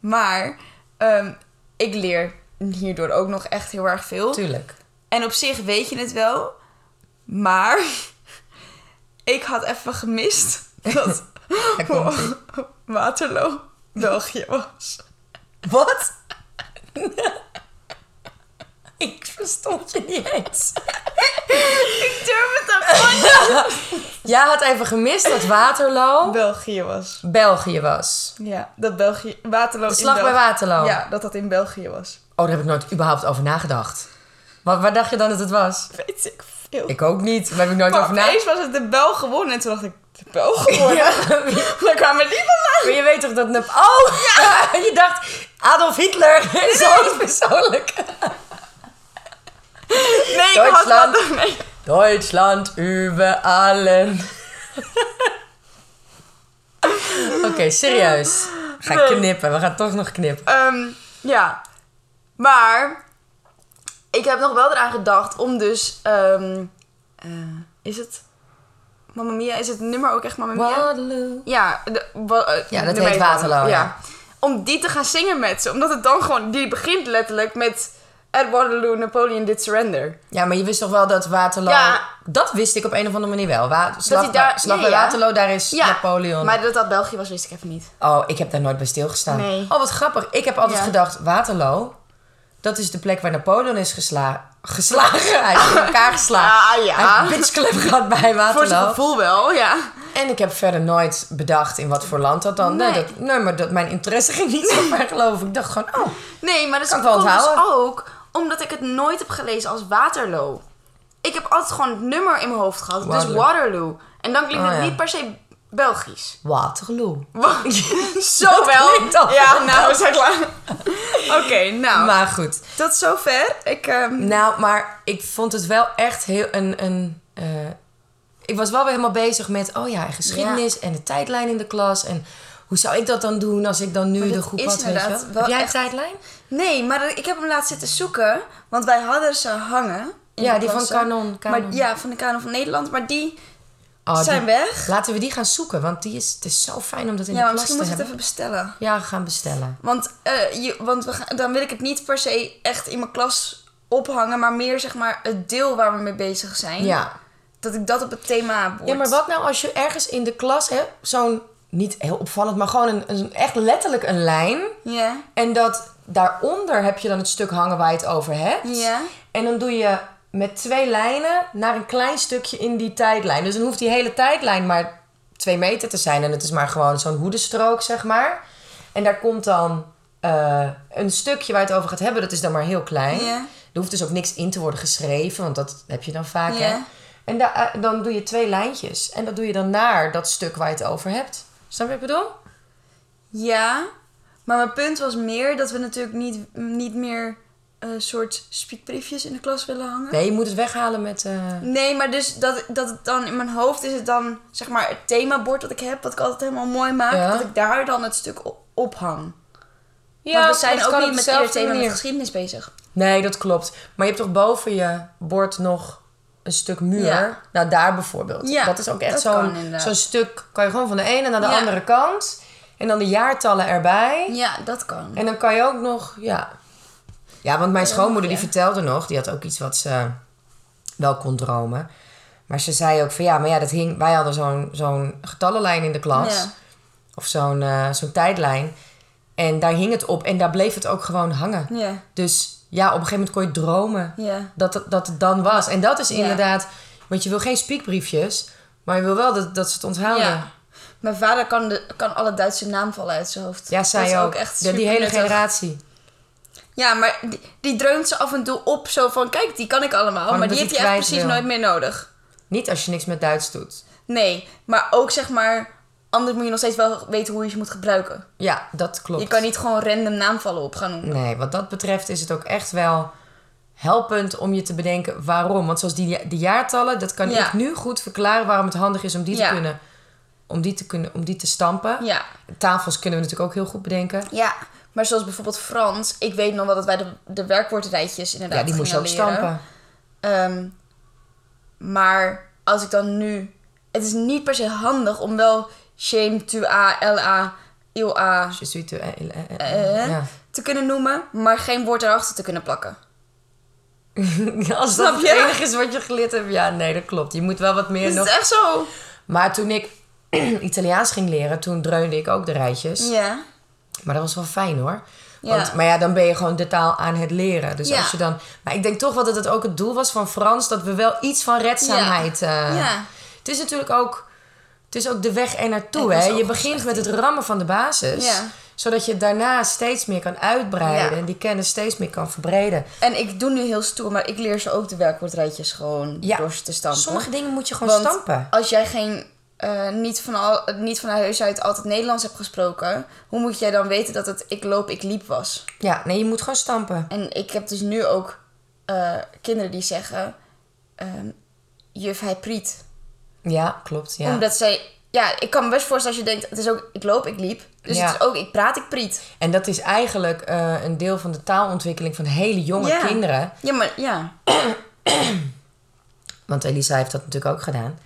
[SPEAKER 2] Maar ehm, ik leer hierdoor ook nog echt heel erg veel.
[SPEAKER 1] Tuurlijk.
[SPEAKER 2] En op zich weet je het wel. Maar ik had even gemist dat Waterloo België was.
[SPEAKER 1] Wat? Ik verstond je niet eens.
[SPEAKER 2] Ik durf het dan gewoon
[SPEAKER 1] Jij had even gemist dat Waterloo
[SPEAKER 2] België was.
[SPEAKER 1] België was.
[SPEAKER 2] Ja, dat België... Waterloo
[SPEAKER 1] De slag
[SPEAKER 2] in
[SPEAKER 1] bij
[SPEAKER 2] België.
[SPEAKER 1] Waterloo.
[SPEAKER 2] Ja, dat dat in België was.
[SPEAKER 1] Oh, daar heb ik nooit überhaupt over nagedacht. Waar, waar dacht je dan dat het was?
[SPEAKER 2] Weet ik veel.
[SPEAKER 1] Ik ook niet. Daar heb ik nooit
[SPEAKER 2] maar
[SPEAKER 1] over nagedacht.
[SPEAKER 2] opeens was het de Bel gewonnen. En toen dacht ik, de Bel gewonnen? Waar kwamen die vandaan?
[SPEAKER 1] Maar je weet toch dat... Nep- Oh! Ja! je dacht, Adolf Hitler is alles persoonlijk.
[SPEAKER 2] Nee, ik had
[SPEAKER 1] Duitsland.
[SPEAKER 2] dat mee.
[SPEAKER 1] Duitsland über allen. Oké, serieus. Ga ik
[SPEAKER 2] Nee.
[SPEAKER 1] knippen. We gaan toch nog knippen.
[SPEAKER 2] Ehm, ja. Maar ik heb nog wel eraan gedacht om dus... ehm, eh, is het... Mamma Mia? Is het nummer ook echt Mamma Mia?
[SPEAKER 1] Waterloo.
[SPEAKER 2] Ja, de, wa- eh,
[SPEAKER 1] Ja, dat
[SPEAKER 2] nummer
[SPEAKER 1] heet Waterloo, ja.
[SPEAKER 2] Om die te gaan zingen met ze. Omdat het dan gewoon... Die begint letterlijk met... At Waterloo, Napoleon did surrender.
[SPEAKER 1] Ja, maar je wist toch wel dat Waterloo...
[SPEAKER 2] Ja.
[SPEAKER 1] Dat wist ik op een of andere manier wel. Wa- slag
[SPEAKER 2] hij
[SPEAKER 1] bij-
[SPEAKER 2] daar-
[SPEAKER 1] slag
[SPEAKER 2] ja,
[SPEAKER 1] bij
[SPEAKER 2] ja.
[SPEAKER 1] Waterloo, daar is Napoleon.
[SPEAKER 2] Maar dat dat België was, wist ik even niet.
[SPEAKER 1] Oh, ik heb daar nooit bij stilgestaan.
[SPEAKER 2] Nee.
[SPEAKER 1] Oh, wat grappig. Ik heb altijd
[SPEAKER 2] Ja.
[SPEAKER 1] gedacht, Waterloo... Dat is de plek waar Napoleon is gesla geslagen. Hij is in elkaar geslagen.
[SPEAKER 2] Ah, ja.
[SPEAKER 1] Hij heeft een bitchclub gehad bij
[SPEAKER 2] Voor zijn
[SPEAKER 1] Waterloo.
[SPEAKER 2] gevoel wel, ja.
[SPEAKER 1] En ik heb verder nooit bedacht in wat voor land dat dan. Nee,
[SPEAKER 2] Nee.
[SPEAKER 1] dat, nee maar dat, mijn interesse ging niet zo ver, geloof ik. Ik dacht gewoon, oh.
[SPEAKER 2] Nee, maar dat
[SPEAKER 1] Kan
[SPEAKER 2] is
[SPEAKER 1] ik wel
[SPEAKER 2] komt dus
[SPEAKER 1] onthouden.
[SPEAKER 2] ook omdat ik het nooit heb gelezen als Waterloo. Ik heb altijd gewoon het nummer in mijn hoofd gehad,
[SPEAKER 1] Waterloo.
[SPEAKER 2] dus Waterloo. En dan klinkt
[SPEAKER 1] Oh,
[SPEAKER 2] het
[SPEAKER 1] ja.
[SPEAKER 2] niet per se Belgisch.
[SPEAKER 1] Waterloo.
[SPEAKER 2] Zo wel.
[SPEAKER 1] klinkt al
[SPEAKER 2] Ja,
[SPEAKER 1] wel.
[SPEAKER 2] nou, zeg maar. Oké, nou.
[SPEAKER 1] Maar goed.
[SPEAKER 2] Tot zover. Ik, ehm,
[SPEAKER 1] Nou, maar ik vond het wel echt heel een... een eh, ik was wel weer helemaal bezig met, oh ja, en geschiedenis en de tijdlijn in de klas. En hoe zou ik dat dan doen als ik dan nu
[SPEAKER 2] Maar
[SPEAKER 1] de
[SPEAKER 2] dat
[SPEAKER 1] groep
[SPEAKER 2] is
[SPEAKER 1] had, weet je
[SPEAKER 2] inderdaad
[SPEAKER 1] wel?
[SPEAKER 2] wel
[SPEAKER 1] Heb jij een
[SPEAKER 2] echt-
[SPEAKER 1] tijdlijn?
[SPEAKER 2] Nee, maar ik heb hem laatst zitten zoeken, want wij hadden ze hangen. in
[SPEAKER 1] Ja,
[SPEAKER 2] de
[SPEAKER 1] die van
[SPEAKER 2] klasse.
[SPEAKER 1] Canon, Canon.
[SPEAKER 2] Maar, ja, van de Canon van Nederland. Maar die
[SPEAKER 1] Oh, die-
[SPEAKER 2] zijn weg.
[SPEAKER 1] Laten we die gaan zoeken, want die is, het is zo fijn om dat in
[SPEAKER 2] Ja,
[SPEAKER 1] de
[SPEAKER 2] maar
[SPEAKER 1] klas
[SPEAKER 2] misschien
[SPEAKER 1] te
[SPEAKER 2] moet ik
[SPEAKER 1] hebben.
[SPEAKER 2] het even bestellen.
[SPEAKER 1] Ja, we gaan bestellen.
[SPEAKER 2] Want, eh, je, want we gaan, dan wil ik het niet per se echt in mijn klas ophangen, maar meer zeg maar het deel waar we mee bezig zijn.
[SPEAKER 1] Ja.
[SPEAKER 2] Dat ik dat op het thema word.
[SPEAKER 1] ja, maar wat nou als je ergens in de klas hebt, zo'n, niet heel opvallend, maar gewoon een, een, echt letterlijk een lijn.
[SPEAKER 2] Ja.
[SPEAKER 1] En dat daaronder heb je dan het stuk hangen waar je het over hebt.
[SPEAKER 2] Ja.
[SPEAKER 1] En dan doe je met twee lijnen naar een klein stukje in die tijdlijn. Dus dan hoeft die hele tijdlijn maar twee meter te zijn. En het is maar gewoon zo'n hoedenstrook, zeg maar. En daar komt dan eh, een stukje waar je het over gaat hebben. Dat is dan maar heel klein.
[SPEAKER 2] Ja.
[SPEAKER 1] Er hoeft dus ook niks in te worden geschreven, want dat heb je dan vaak.
[SPEAKER 2] Ja.
[SPEAKER 1] Hè? En da- eh, dan doe je twee lijntjes. En dat doe je dan naar dat stuk waar je het over hebt. Snap je wat ik bedoel?
[SPEAKER 2] Ja. Maar mijn punt was meer dat we natuurlijk niet, niet meer een soort spiekbriefjes in de klas willen hangen.
[SPEAKER 1] Nee, je moet het weghalen met... eh,
[SPEAKER 2] Nee, maar dus dat, dat het dan in mijn hoofd is het dan zeg maar het themabord dat ik heb, wat ik altijd helemaal mooi maak,
[SPEAKER 1] Ja.
[SPEAKER 2] dat ik daar dan het stuk op, ophang.
[SPEAKER 1] Ja,
[SPEAKER 2] Want we zijn
[SPEAKER 1] dat
[SPEAKER 2] ook
[SPEAKER 1] kan
[SPEAKER 2] niet
[SPEAKER 1] op
[SPEAKER 2] met
[SPEAKER 1] dezelfde
[SPEAKER 2] het thema met
[SPEAKER 1] manier.
[SPEAKER 2] geschiedenis bezig.
[SPEAKER 1] Nee, dat klopt. Maar je hebt toch boven je bord nog een stuk muur?
[SPEAKER 2] Ja.
[SPEAKER 1] Nou, daar bijvoorbeeld.
[SPEAKER 2] Ja,
[SPEAKER 1] dat is ook echt
[SPEAKER 2] dat kan
[SPEAKER 1] zo'n
[SPEAKER 2] inderdaad.
[SPEAKER 1] zo'n stuk. Kan je gewoon van de ene naar de
[SPEAKER 2] Ja.
[SPEAKER 1] andere kant. En dan de jaartallen erbij.
[SPEAKER 2] Ja, dat kan.
[SPEAKER 1] En dan kan je ook nog, ja. Ja, want mijn schoonmoeder die
[SPEAKER 2] ja.
[SPEAKER 1] vertelde nog, die had ook iets wat ze wel kon dromen. Maar ze zei ook van ja, maar ja, dat hing, wij hadden zo'n zo'n getallenlijn in de klas.
[SPEAKER 2] Ja.
[SPEAKER 1] Of zo'n eh, zo'n tijdlijn. En daar hing het op en daar bleef het ook gewoon hangen.
[SPEAKER 2] Ja.
[SPEAKER 1] Dus ja, op een gegeven moment kon je dromen
[SPEAKER 2] Ja.
[SPEAKER 1] dat, het- dat het dan was. En dat is
[SPEAKER 2] Ja.
[SPEAKER 1] inderdaad, want je wil geen spiekbriefjes, maar je wil wel dat, dat ze het onthouden.
[SPEAKER 2] Ja. Mijn vader kan, de, kan alle Duitse naamvallen uit zijn hoofd.
[SPEAKER 1] Ja, zij
[SPEAKER 2] Dat is
[SPEAKER 1] ook.
[SPEAKER 2] ook echt
[SPEAKER 1] Ja, die hele
[SPEAKER 2] supernuttig.
[SPEAKER 1] generatie.
[SPEAKER 2] Ja, maar die, die dreunt ze af en toe op zo van... Kijk, die kan ik allemaal.
[SPEAKER 1] Gewoon omdat
[SPEAKER 2] maar die heeft
[SPEAKER 1] hij
[SPEAKER 2] hij
[SPEAKER 1] kwijt
[SPEAKER 2] echt precies
[SPEAKER 1] wil.
[SPEAKER 2] nooit meer nodig.
[SPEAKER 1] Niet als je niks met Duits doet.
[SPEAKER 2] Nee, maar ook zeg maar... Anders moet je nog steeds wel weten hoe je ze moet gebruiken.
[SPEAKER 1] Ja, dat klopt.
[SPEAKER 2] Je kan niet gewoon random naamvallen op gaan noemen.
[SPEAKER 1] Nee, wat dat betreft is het ook echt wel helpend om je te bedenken waarom. Want zoals die, die jaartallen, dat kan
[SPEAKER 2] Ja.
[SPEAKER 1] ik nu goed verklaren waarom het handig is om die
[SPEAKER 2] Ja.
[SPEAKER 1] te kunnen. Om die te kunnen, om die te stampen.
[SPEAKER 2] Ja.
[SPEAKER 1] Tafels kunnen we natuurlijk ook heel goed bedenken.
[SPEAKER 2] Ja, maar zoals bijvoorbeeld Frans. Ik weet nog wel dat wij de, de werkwoordrijtjes inderdaad
[SPEAKER 1] ja, die moest je ook
[SPEAKER 2] gingen leren.
[SPEAKER 1] stampen.
[SPEAKER 2] Ehm, maar als ik dan nu... Het is niet per se handig om wel shame, tu a, l a, il a
[SPEAKER 1] Je ziet er- eh, eh, eh,
[SPEAKER 2] Eh?
[SPEAKER 1] ja.
[SPEAKER 2] te kunnen noemen. Maar geen woord erachter te kunnen plakken.
[SPEAKER 1] Als dat
[SPEAKER 2] Snap
[SPEAKER 1] het
[SPEAKER 2] je? Dus
[SPEAKER 1] enige is wat je geleerd hebt. Ja, nee, dat klopt. Je moet wel wat meer
[SPEAKER 2] Is
[SPEAKER 1] nog.
[SPEAKER 2] het echt zo?
[SPEAKER 1] Maar toen ik Italiaans ging leren, toen dreunde ik ook de rijtjes.
[SPEAKER 2] Ja.
[SPEAKER 1] Maar dat was wel fijn hoor.
[SPEAKER 2] Ja.
[SPEAKER 1] Want, Maar ja, dan ben je gewoon de taal aan het leren. Dus
[SPEAKER 2] Ja.
[SPEAKER 1] als je dan. Maar ik denk toch wel dat het ook het doel was van Frans dat we wel iets van redzaamheid. eh,
[SPEAKER 2] Ja.
[SPEAKER 1] Het is natuurlijk ook. Het is ook de weg er naartoe.
[SPEAKER 2] Ik was
[SPEAKER 1] Hè?
[SPEAKER 2] ook
[SPEAKER 1] Je
[SPEAKER 2] wel
[SPEAKER 1] begint
[SPEAKER 2] slecht
[SPEAKER 1] met het rammen van de basis.
[SPEAKER 2] Ja.
[SPEAKER 1] Zodat je daarna steeds meer kan uitbreiden.
[SPEAKER 2] Ja.
[SPEAKER 1] En die kennis steeds meer kan verbreden.
[SPEAKER 2] En ik doe nu heel stoer, maar ik leer ze ook de werkwoordrijtjes gewoon
[SPEAKER 1] Ja.
[SPEAKER 2] door ze te stampen.
[SPEAKER 1] Sommige dingen moet je gewoon
[SPEAKER 2] Want
[SPEAKER 1] stampen.
[SPEAKER 2] als jij geen, eh, niet, van al, niet van huis uit altijd Nederlands hebt gesproken... hoe moet jij dan weten dat het ik loop, ik liep was?
[SPEAKER 1] Ja, nee, je moet gewoon stampen.
[SPEAKER 2] En ik heb dus nu ook eh, kinderen die zeggen... ehm, juf, hij priet.
[SPEAKER 1] Ja, klopt. Ja.
[SPEAKER 2] Omdat zij... Ja, ik kan me best voorstellen als je denkt... het is ook ik loop, ik liep. Dus
[SPEAKER 1] Ja.
[SPEAKER 2] het is ook ik praat, ik priet.
[SPEAKER 1] En dat is eigenlijk eh, een deel van de taalontwikkeling van hele jonge
[SPEAKER 2] Ja.
[SPEAKER 1] kinderen.
[SPEAKER 2] Ja, maar ja.
[SPEAKER 1] Want Elisa heeft dat natuurlijk ook gedaan.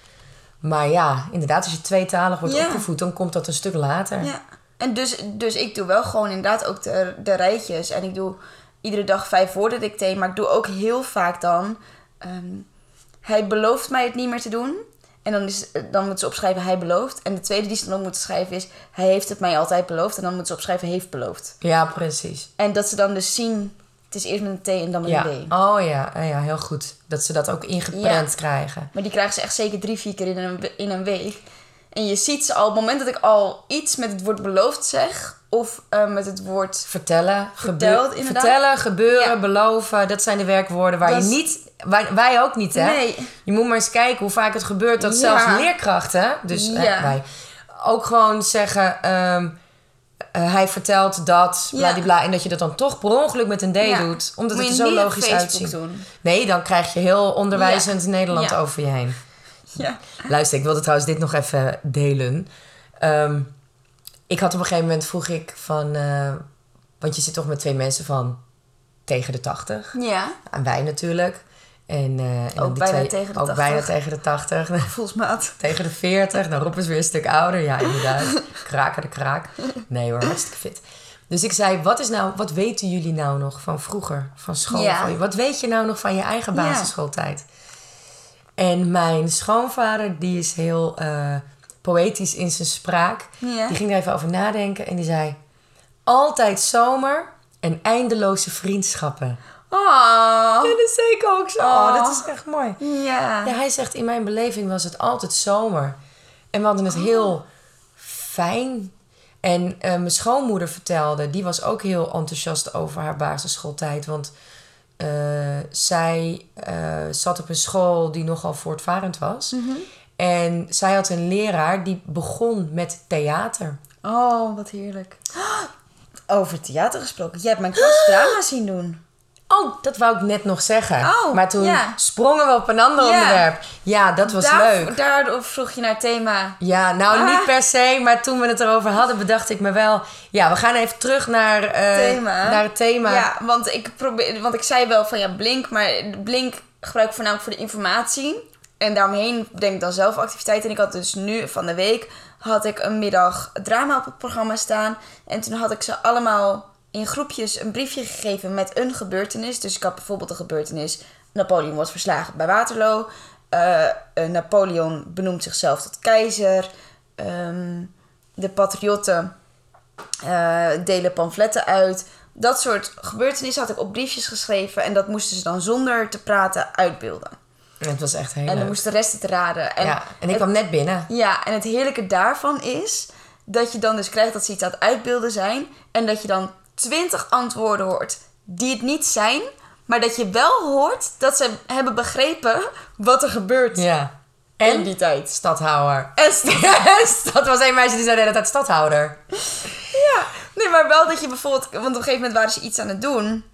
[SPEAKER 1] Maar ja, inderdaad, als je tweetalig wordt
[SPEAKER 2] Ja.
[SPEAKER 1] opgevoed, dan komt dat een stuk later.
[SPEAKER 2] Ja. En dus, dus ik doe wel gewoon inderdaad ook de, de rijtjes. En ik doe iedere dag vijf woorden dictee. Maar ik doe ook heel vaak dan... ehm, hij belooft mij het niet meer te doen. En dan, is, dan moet ze opschrijven hij belooft. En de tweede die ze dan ook moeten schrijven is... Hij heeft het mij altijd beloofd. En dan moet ze opschrijven heeft beloofd.
[SPEAKER 1] Ja, precies.
[SPEAKER 2] En dat ze dan dus zien... Het is eerst met een T en dan met
[SPEAKER 1] Ja.
[SPEAKER 2] een D.
[SPEAKER 1] Oh ja. Ah ja, heel goed. Dat ze dat ook ingeprent
[SPEAKER 2] Ja.
[SPEAKER 1] krijgen.
[SPEAKER 2] Maar die krijgen ze echt zeker drie, vier keer in een, we- in een week. En je ziet ze al... Op het moment dat ik al iets met het woord beloofd zeg... Of eh, met het woord...
[SPEAKER 1] Vertellen,
[SPEAKER 2] Verteld,
[SPEAKER 1] gebeu-
[SPEAKER 2] inderdaad.
[SPEAKER 1] vertellen gebeuren,
[SPEAKER 2] Ja.
[SPEAKER 1] beloven. Dat zijn de werkwoorden waar
[SPEAKER 2] Dat
[SPEAKER 1] je
[SPEAKER 2] is-
[SPEAKER 1] niet... Wij, wij ook niet, hè?
[SPEAKER 2] Nee.
[SPEAKER 1] Je moet maar eens kijken hoe vaak het gebeurt dat zelfs
[SPEAKER 2] Ja.
[SPEAKER 1] leerkrachten... Dus eh,
[SPEAKER 2] Ja.
[SPEAKER 1] wij ook gewoon zeggen... ehm, eh, hij vertelt dat, bladibla. En dat je dat dan toch per ongeluk met een D
[SPEAKER 2] Ja.
[SPEAKER 1] doet. Omdat
[SPEAKER 2] Moet
[SPEAKER 1] het
[SPEAKER 2] je
[SPEAKER 1] er zo
[SPEAKER 2] niet op
[SPEAKER 1] logisch
[SPEAKER 2] Facebook
[SPEAKER 1] uitziet.
[SPEAKER 2] doen.
[SPEAKER 1] Nee, dan krijg je heel onderwijzend
[SPEAKER 2] Ja.
[SPEAKER 1] Nederland
[SPEAKER 2] Ja.
[SPEAKER 1] over je heen.
[SPEAKER 2] Ja.
[SPEAKER 1] Luister, ik wilde trouwens dit nog even delen. Ehm, ik had op een gegeven moment vroeg ik van... eh, want je zit toch met twee mensen van tegen de tachtig?
[SPEAKER 2] Ja.
[SPEAKER 1] Aan wij natuurlijk. En, eh, en dan
[SPEAKER 2] Ook
[SPEAKER 1] die
[SPEAKER 2] bijna
[SPEAKER 1] twee-
[SPEAKER 2] tegen de
[SPEAKER 1] ook
[SPEAKER 2] 80.
[SPEAKER 1] bijna tegen de 80.
[SPEAKER 2] Gevoelsmaat.
[SPEAKER 1] tegen de 40. Dan Rob is weer een stuk ouder. Ja, inderdaad. Kraker de kraak. Nee hoor, hartstikke fit. Dus ik zei, wat, is nou, wat weten jullie nou nog van vroeger? Van school?
[SPEAKER 2] Ja.
[SPEAKER 1] Van- wat weet je nou nog van je eigen
[SPEAKER 2] Ja.
[SPEAKER 1] basisschooltijd? En mijn schoonvader, die is heel eh, poëtisch in zijn spraak.
[SPEAKER 2] Ja.
[SPEAKER 1] Die ging daar even over nadenken en die zei... Altijd zomer en eindeloze vriendschappen.
[SPEAKER 2] Oh.
[SPEAKER 1] En dat zei ik ook zo. Oh, dat is echt mooi.
[SPEAKER 2] Ja.
[SPEAKER 1] Ja, hij zegt, in mijn beleving was het altijd zomer. En we hadden het
[SPEAKER 2] Oh.
[SPEAKER 1] heel fijn. En eh, mijn schoonmoeder vertelde, die was ook heel enthousiast over haar basisschooltijd. Want eh, zij eh, zat op een school die nogal voortvarend was.
[SPEAKER 2] Mhm.
[SPEAKER 1] En zij had een leraar die begon met theater.
[SPEAKER 2] Oh, wat heerlijk. Over theater gesproken. Jij hebt mijn klas drama zien doen.
[SPEAKER 1] Oh, dat wou ik net nog zeggen.
[SPEAKER 2] Oh,
[SPEAKER 1] maar toen
[SPEAKER 2] ja.
[SPEAKER 1] sprongen we op een ander
[SPEAKER 2] Ja.
[SPEAKER 1] onderwerp. Ja, dat was leuk.
[SPEAKER 2] Daardoor vroeg je naar het thema.
[SPEAKER 1] Ja, nou
[SPEAKER 2] Ah.
[SPEAKER 1] niet per se, maar toen we het erover hadden, bedacht ik me wel. Ja, we gaan even terug naar, eh,
[SPEAKER 2] Thema.
[SPEAKER 1] naar het thema.
[SPEAKER 2] Ja, want ik, probeer, want ik zei wel van ja, Blink. Maar Blink gebruik ik voornamelijk voor de informatie. En daaromheen denk ik dan zelf activiteiten. En ik had dus nu van de week had ik een middag drama op het programma staan. En toen had ik ze allemaal in groepjes een briefje gegeven met een gebeurtenis. Dus ik had bijvoorbeeld de gebeurtenis... Napoleon wordt verslagen bij Waterloo. Eh, eh, Napoleon benoemt zichzelf tot keizer. Ehm, de patriotten eh, delen pamfletten uit. Dat soort gebeurtenissen had ik op briefjes geschreven. En dat moesten ze dan zonder te praten uitbeelden.
[SPEAKER 1] En Het was echt heel
[SPEAKER 2] En dan
[SPEAKER 1] leuk.
[SPEAKER 2] moest de rest het raden. En,
[SPEAKER 1] ja, en ik
[SPEAKER 2] het-
[SPEAKER 1] kwam net binnen.
[SPEAKER 2] ja, en het heerlijke daarvan is dat je dan dus krijgt dat ze iets aan het uitbeelden zijn. En dat je dan twintig antwoorden hoort die het niet zijn. Maar dat je wel hoort dat ze hebben begrepen wat er gebeurt
[SPEAKER 1] Ja.
[SPEAKER 2] in
[SPEAKER 1] En
[SPEAKER 2] die tijd.
[SPEAKER 1] stadhouder.
[SPEAKER 2] En st-
[SPEAKER 1] dat was een meisje die zei de hele tijd stadhouder.
[SPEAKER 2] Ja, nee, maar wel dat je bijvoorbeeld... Want op een gegeven moment waren ze iets aan het doen.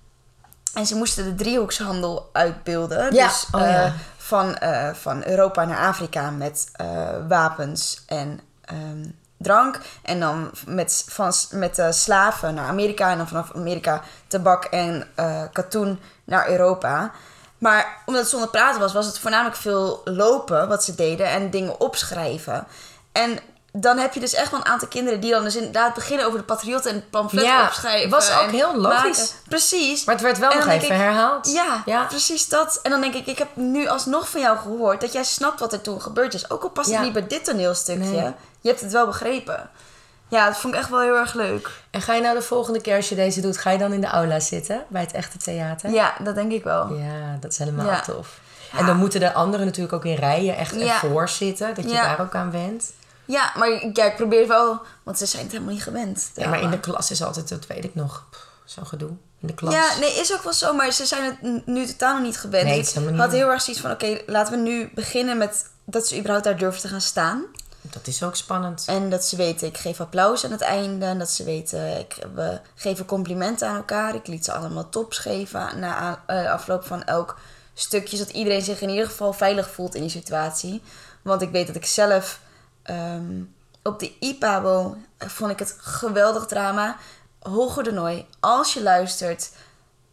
[SPEAKER 2] En ze moesten de driehoekshandel uitbeelden.
[SPEAKER 1] Ja,
[SPEAKER 2] Dus
[SPEAKER 1] oh ja.
[SPEAKER 2] eh, van, eh, van Europa naar Afrika met eh, wapens en ehm, drank. En dan met, van, s- met de slaven naar Amerika. En dan vanaf Amerika tabak en eh, katoen naar Europa. Maar omdat het zonder praten was, was het voornamelijk veel lopen wat ze deden en dingen opschrijven. En dan heb je dus echt wel een aantal kinderen die dan dus inderdaad beginnen over de patriotten en het pamflet
[SPEAKER 1] Ja,
[SPEAKER 2] opschrijven.
[SPEAKER 1] was ook
[SPEAKER 2] en
[SPEAKER 1] heel logisch.
[SPEAKER 2] Precies.
[SPEAKER 1] Maar het werd wel
[SPEAKER 2] En
[SPEAKER 1] nog
[SPEAKER 2] dan denk
[SPEAKER 1] even
[SPEAKER 2] ik,
[SPEAKER 1] herhaald.
[SPEAKER 2] Ja,
[SPEAKER 1] Ja.
[SPEAKER 2] precies dat. En dan denk ik, ik heb nu alsnog van jou gehoord dat jij snapt wat er toen gebeurd is. Ook al past
[SPEAKER 1] Ja.
[SPEAKER 2] het niet bij dit toneelstukje.
[SPEAKER 1] Nee.
[SPEAKER 2] Je hebt het wel begrepen. Ja, dat vond ik echt wel heel erg leuk.
[SPEAKER 1] En ga je nou de volgende keer als je deze doet, ga je dan in de aula zitten bij het echte theater?
[SPEAKER 2] Ja, dat denk ik wel.
[SPEAKER 1] Ja, dat is helemaal
[SPEAKER 2] Ja.
[SPEAKER 1] tof. En dan moeten de anderen natuurlijk ook in rijen echt
[SPEAKER 2] Ja.
[SPEAKER 1] ervoor zitten, dat je
[SPEAKER 2] Ja.
[SPEAKER 1] daar ook aan went.
[SPEAKER 2] Ja, maar ik- ja, ik probeer wel, want ze zijn het helemaal niet gewend.
[SPEAKER 1] Ja, maar in de klas is altijd, dat weet ik nog, pff, zo'n gedoe. In de klas.
[SPEAKER 2] Ja, nee, is ook wel zo, maar ze zijn het n- nu totaal nog niet gewend. Dus
[SPEAKER 1] Nee,
[SPEAKER 2] ik
[SPEAKER 1] het is helemaal niet.
[SPEAKER 2] had heel erg zoiets van, oké, laten we nu beginnen met dat ze überhaupt daar durven te gaan staan.
[SPEAKER 1] Dat is ook spannend.
[SPEAKER 2] En dat ze weten, ik geef applaus aan het einde. En dat ze weten, ik, we geven complimenten aan elkaar. Ik liet ze allemaal tops geven na a- eh, afloop van elk stukje. Zodat iedereen zich in ieder geval veilig voelt in die situatie. Want ik weet dat ik zelf ehm, op de IPABO vond ik het geweldig drama. Hoger de Nooi, als je luistert.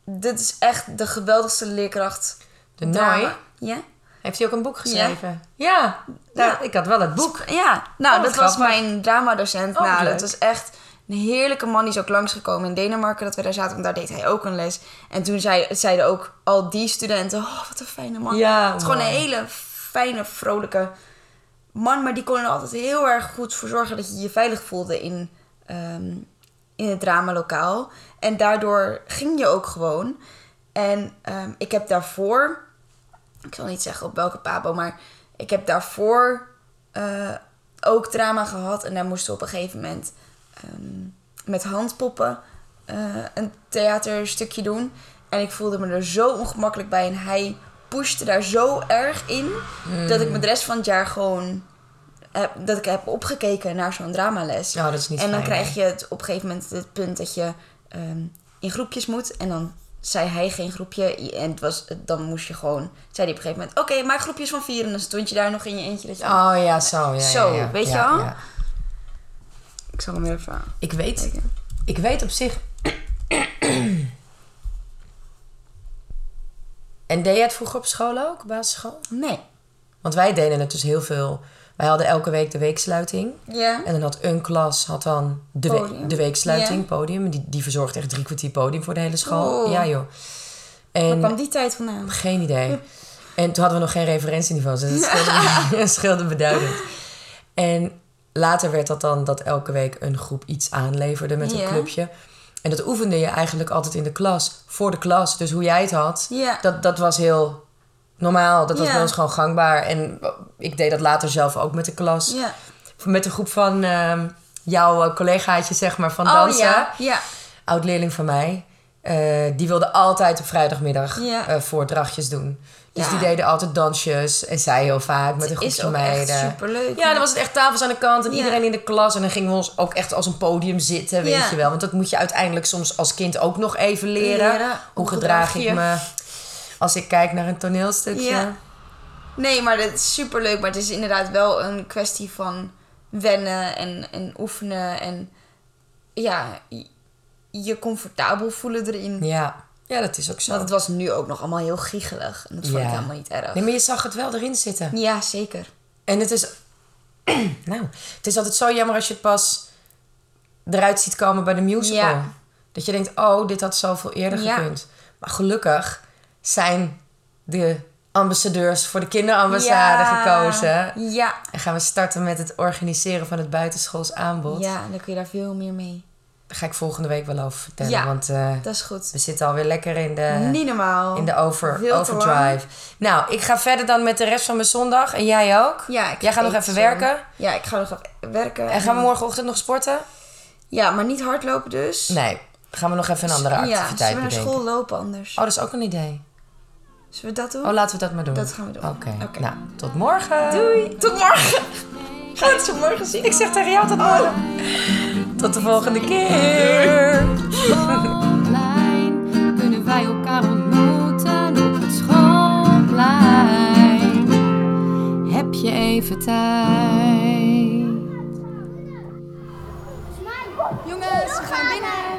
[SPEAKER 2] Dit is echt de geweldigste leerkracht.
[SPEAKER 1] De
[SPEAKER 2] drama.
[SPEAKER 1] Nooi?
[SPEAKER 2] Ja.
[SPEAKER 1] Heeft hij ook een boek geschreven? Ja,
[SPEAKER 2] Ja.
[SPEAKER 1] nou, ik had wel het boek.
[SPEAKER 2] Ja, nou,
[SPEAKER 1] Oh,
[SPEAKER 2] dat
[SPEAKER 1] grappig.
[SPEAKER 2] was mijn dramadocent.
[SPEAKER 1] Oh,
[SPEAKER 2] nou,
[SPEAKER 1] leuk.
[SPEAKER 2] dat was echt een heerlijke man. Die is ook langsgekomen in Denemarken dat we daar zaten. Want daar deed hij ook een les. En toen zei, zeiden ook al die studenten... Oh, wat een fijne man.
[SPEAKER 1] Ja,
[SPEAKER 2] het is gewoon een
[SPEAKER 1] mooi.
[SPEAKER 2] hele fijne, vrolijke man. Maar die kon er altijd heel erg goed voor zorgen... dat je je veilig voelde in, ehm, in het dramalokaal. En daardoor ging je ook gewoon. En ehm, ik heb daarvoor ik zal niet zeggen op welke pabo, maar ik heb daarvoor eh, ook drama gehad. En daar moesten we op een gegeven moment ehm, met handpoppen eh, een theaterstukje doen. En ik voelde me er zo ongemakkelijk bij. En hij pushte daar zo erg in
[SPEAKER 1] Hmm.
[SPEAKER 2] dat ik me de rest van het jaar gewoon. Heb, dat ik heb opgekeken naar zo'n dramales.
[SPEAKER 1] Nou, dat is niet
[SPEAKER 2] en dan
[SPEAKER 1] fijn,
[SPEAKER 2] krijg je het op een gegeven moment het punt dat je ehm, in groepjes moet. En dan zei hij geen groepje. En het was, dan moest je gewoon... zei hij op een gegeven moment... Oké, maak groepjes van vier. En dan stond je daar nog in je eentje. Dat je,
[SPEAKER 1] Oh ja, zo. Ja,
[SPEAKER 2] Zo,
[SPEAKER 1] ja, ja.
[SPEAKER 2] weet je
[SPEAKER 1] Ja,
[SPEAKER 2] wel?
[SPEAKER 1] ja.
[SPEAKER 2] Ik zal hem weer even...
[SPEAKER 1] Ik, weet,
[SPEAKER 2] Kijken.
[SPEAKER 1] ik weet op zich... En deed jij het vroeger op school ook, basisschool?
[SPEAKER 2] Nee.
[SPEAKER 1] Want wij deden het dus heel veel. Wij hadden elke week de weeksluiting.
[SPEAKER 2] Ja.
[SPEAKER 1] En dan had een klas had dan de, we-
[SPEAKER 2] Podium.
[SPEAKER 1] de weeksluiting, podium. Die, die verzorgde echt drie kwartier podium voor de hele school.
[SPEAKER 2] Cool.
[SPEAKER 1] Ja, joh. En
[SPEAKER 2] Kwam die tijd vandaan?
[SPEAKER 1] geen idee. En toen hadden we nog geen referentieniveaus. Dus dat scheelde, dat scheelde beduidend. En later werd dat dan dat elke week een groep iets aanleverde met
[SPEAKER 2] Ja.
[SPEAKER 1] een clubje. En dat oefende je eigenlijk altijd in de klas, voor de klas. Dus hoe jij het had,
[SPEAKER 2] Ja.
[SPEAKER 1] dat, dat was heel normaal. Dat was
[SPEAKER 2] Ja.
[SPEAKER 1] bij ons gewoon gangbaar. En ik deed dat later zelf ook met de klas.
[SPEAKER 2] Ja.
[SPEAKER 1] Met een groep van ehm, jouw eh, collegaatjes, zeg maar, van dansen
[SPEAKER 2] Oh, ja. Ja.
[SPEAKER 1] oud-leerling van mij. eh, die wilde altijd op vrijdagmiddag
[SPEAKER 2] Ja.
[SPEAKER 1] eh, voordrachtjes doen. Dus
[SPEAKER 2] Ja.
[SPEAKER 1] die deden altijd dansjes. En zij heel vaak met een
[SPEAKER 2] Is
[SPEAKER 1] groepje
[SPEAKER 2] ook echt
[SPEAKER 1] meiden.
[SPEAKER 2] superleuk.
[SPEAKER 1] Ja, dan was het echt tafels aan de kant en
[SPEAKER 2] Ja.
[SPEAKER 1] iedereen in de klas. En dan gingen we ons ook echt als een podium zitten, weet
[SPEAKER 2] Ja.
[SPEAKER 1] je wel. Want dat moet je uiteindelijk soms als kind ook nog even leren.
[SPEAKER 2] Leren.
[SPEAKER 1] Hoe gedraag ik me als ik kijk naar een toneelstukje?
[SPEAKER 2] Ja. Nee, maar dat is superleuk. Maar het is inderdaad wel een kwestie van wennen en, en oefenen. En ja, je- je comfortabel voelen erin.
[SPEAKER 1] ja. Ja, dat is ook zo.
[SPEAKER 2] Want het was nu ook nog allemaal heel giegelig. En dat vond
[SPEAKER 1] Ja.
[SPEAKER 2] ik helemaal niet erg.
[SPEAKER 1] Nee, maar je zag het wel erin zitten.
[SPEAKER 2] Ja, zeker.
[SPEAKER 1] En het is. nou, het is altijd zo jammer als je het pas eruit ziet komen bij de musical.
[SPEAKER 2] Ja.
[SPEAKER 1] Dat je denkt, oh, dit had zoveel eerder
[SPEAKER 2] Ja.
[SPEAKER 1] gekund. Maar gelukkig zijn de ambassadeurs voor de kinderambassade
[SPEAKER 2] Ja.
[SPEAKER 1] gekozen.
[SPEAKER 2] Ja.
[SPEAKER 1] En gaan we starten met het organiseren van het buitenschools aanbod.
[SPEAKER 2] Ja, en dan kun je daar veel meer mee.
[SPEAKER 1] Daar ga ik volgende week wel over vertellen.
[SPEAKER 2] Ja.
[SPEAKER 1] Want eh,
[SPEAKER 2] Dat is goed.
[SPEAKER 1] we zitten alweer lekker in de,
[SPEAKER 2] niet normaal.
[SPEAKER 1] eh, in de over,
[SPEAKER 2] Veel te lang.
[SPEAKER 1] overdrive. Nou, ik ga verder dan met de rest van mijn zondag. En jij ook?
[SPEAKER 2] Ja, ik
[SPEAKER 1] jij gaat nog
[SPEAKER 2] eet
[SPEAKER 1] even
[SPEAKER 2] zo.
[SPEAKER 1] werken.
[SPEAKER 2] Ja, ik ga nog even werken.
[SPEAKER 1] En gaan we morgenochtend nog sporten?
[SPEAKER 2] Ja, maar niet hardlopen dus.
[SPEAKER 1] Nee, gaan we nog even een andere
[SPEAKER 2] ja,
[SPEAKER 1] activiteit
[SPEAKER 2] zullen we naar
[SPEAKER 1] bedenken.
[SPEAKER 2] school lopen anders?
[SPEAKER 1] Oh, dat is ook een idee.
[SPEAKER 2] Zullen we dat doen?
[SPEAKER 1] Oh, laten we dat maar doen.
[SPEAKER 2] Dat gaan we doen.
[SPEAKER 1] Oké,
[SPEAKER 2] Oké.
[SPEAKER 1] nou, tot morgen.
[SPEAKER 2] Doei, tot morgen. Ga het zo morgen zien.
[SPEAKER 1] Ik zeg tegen jou tot morgen.
[SPEAKER 2] Oh.
[SPEAKER 1] Tot de volgende keer.
[SPEAKER 3] schoolplein kunnen wij elkaar ontmoeten op het schoolplein. Heb je even tijd?
[SPEAKER 4] Jongens, we gaan binnen!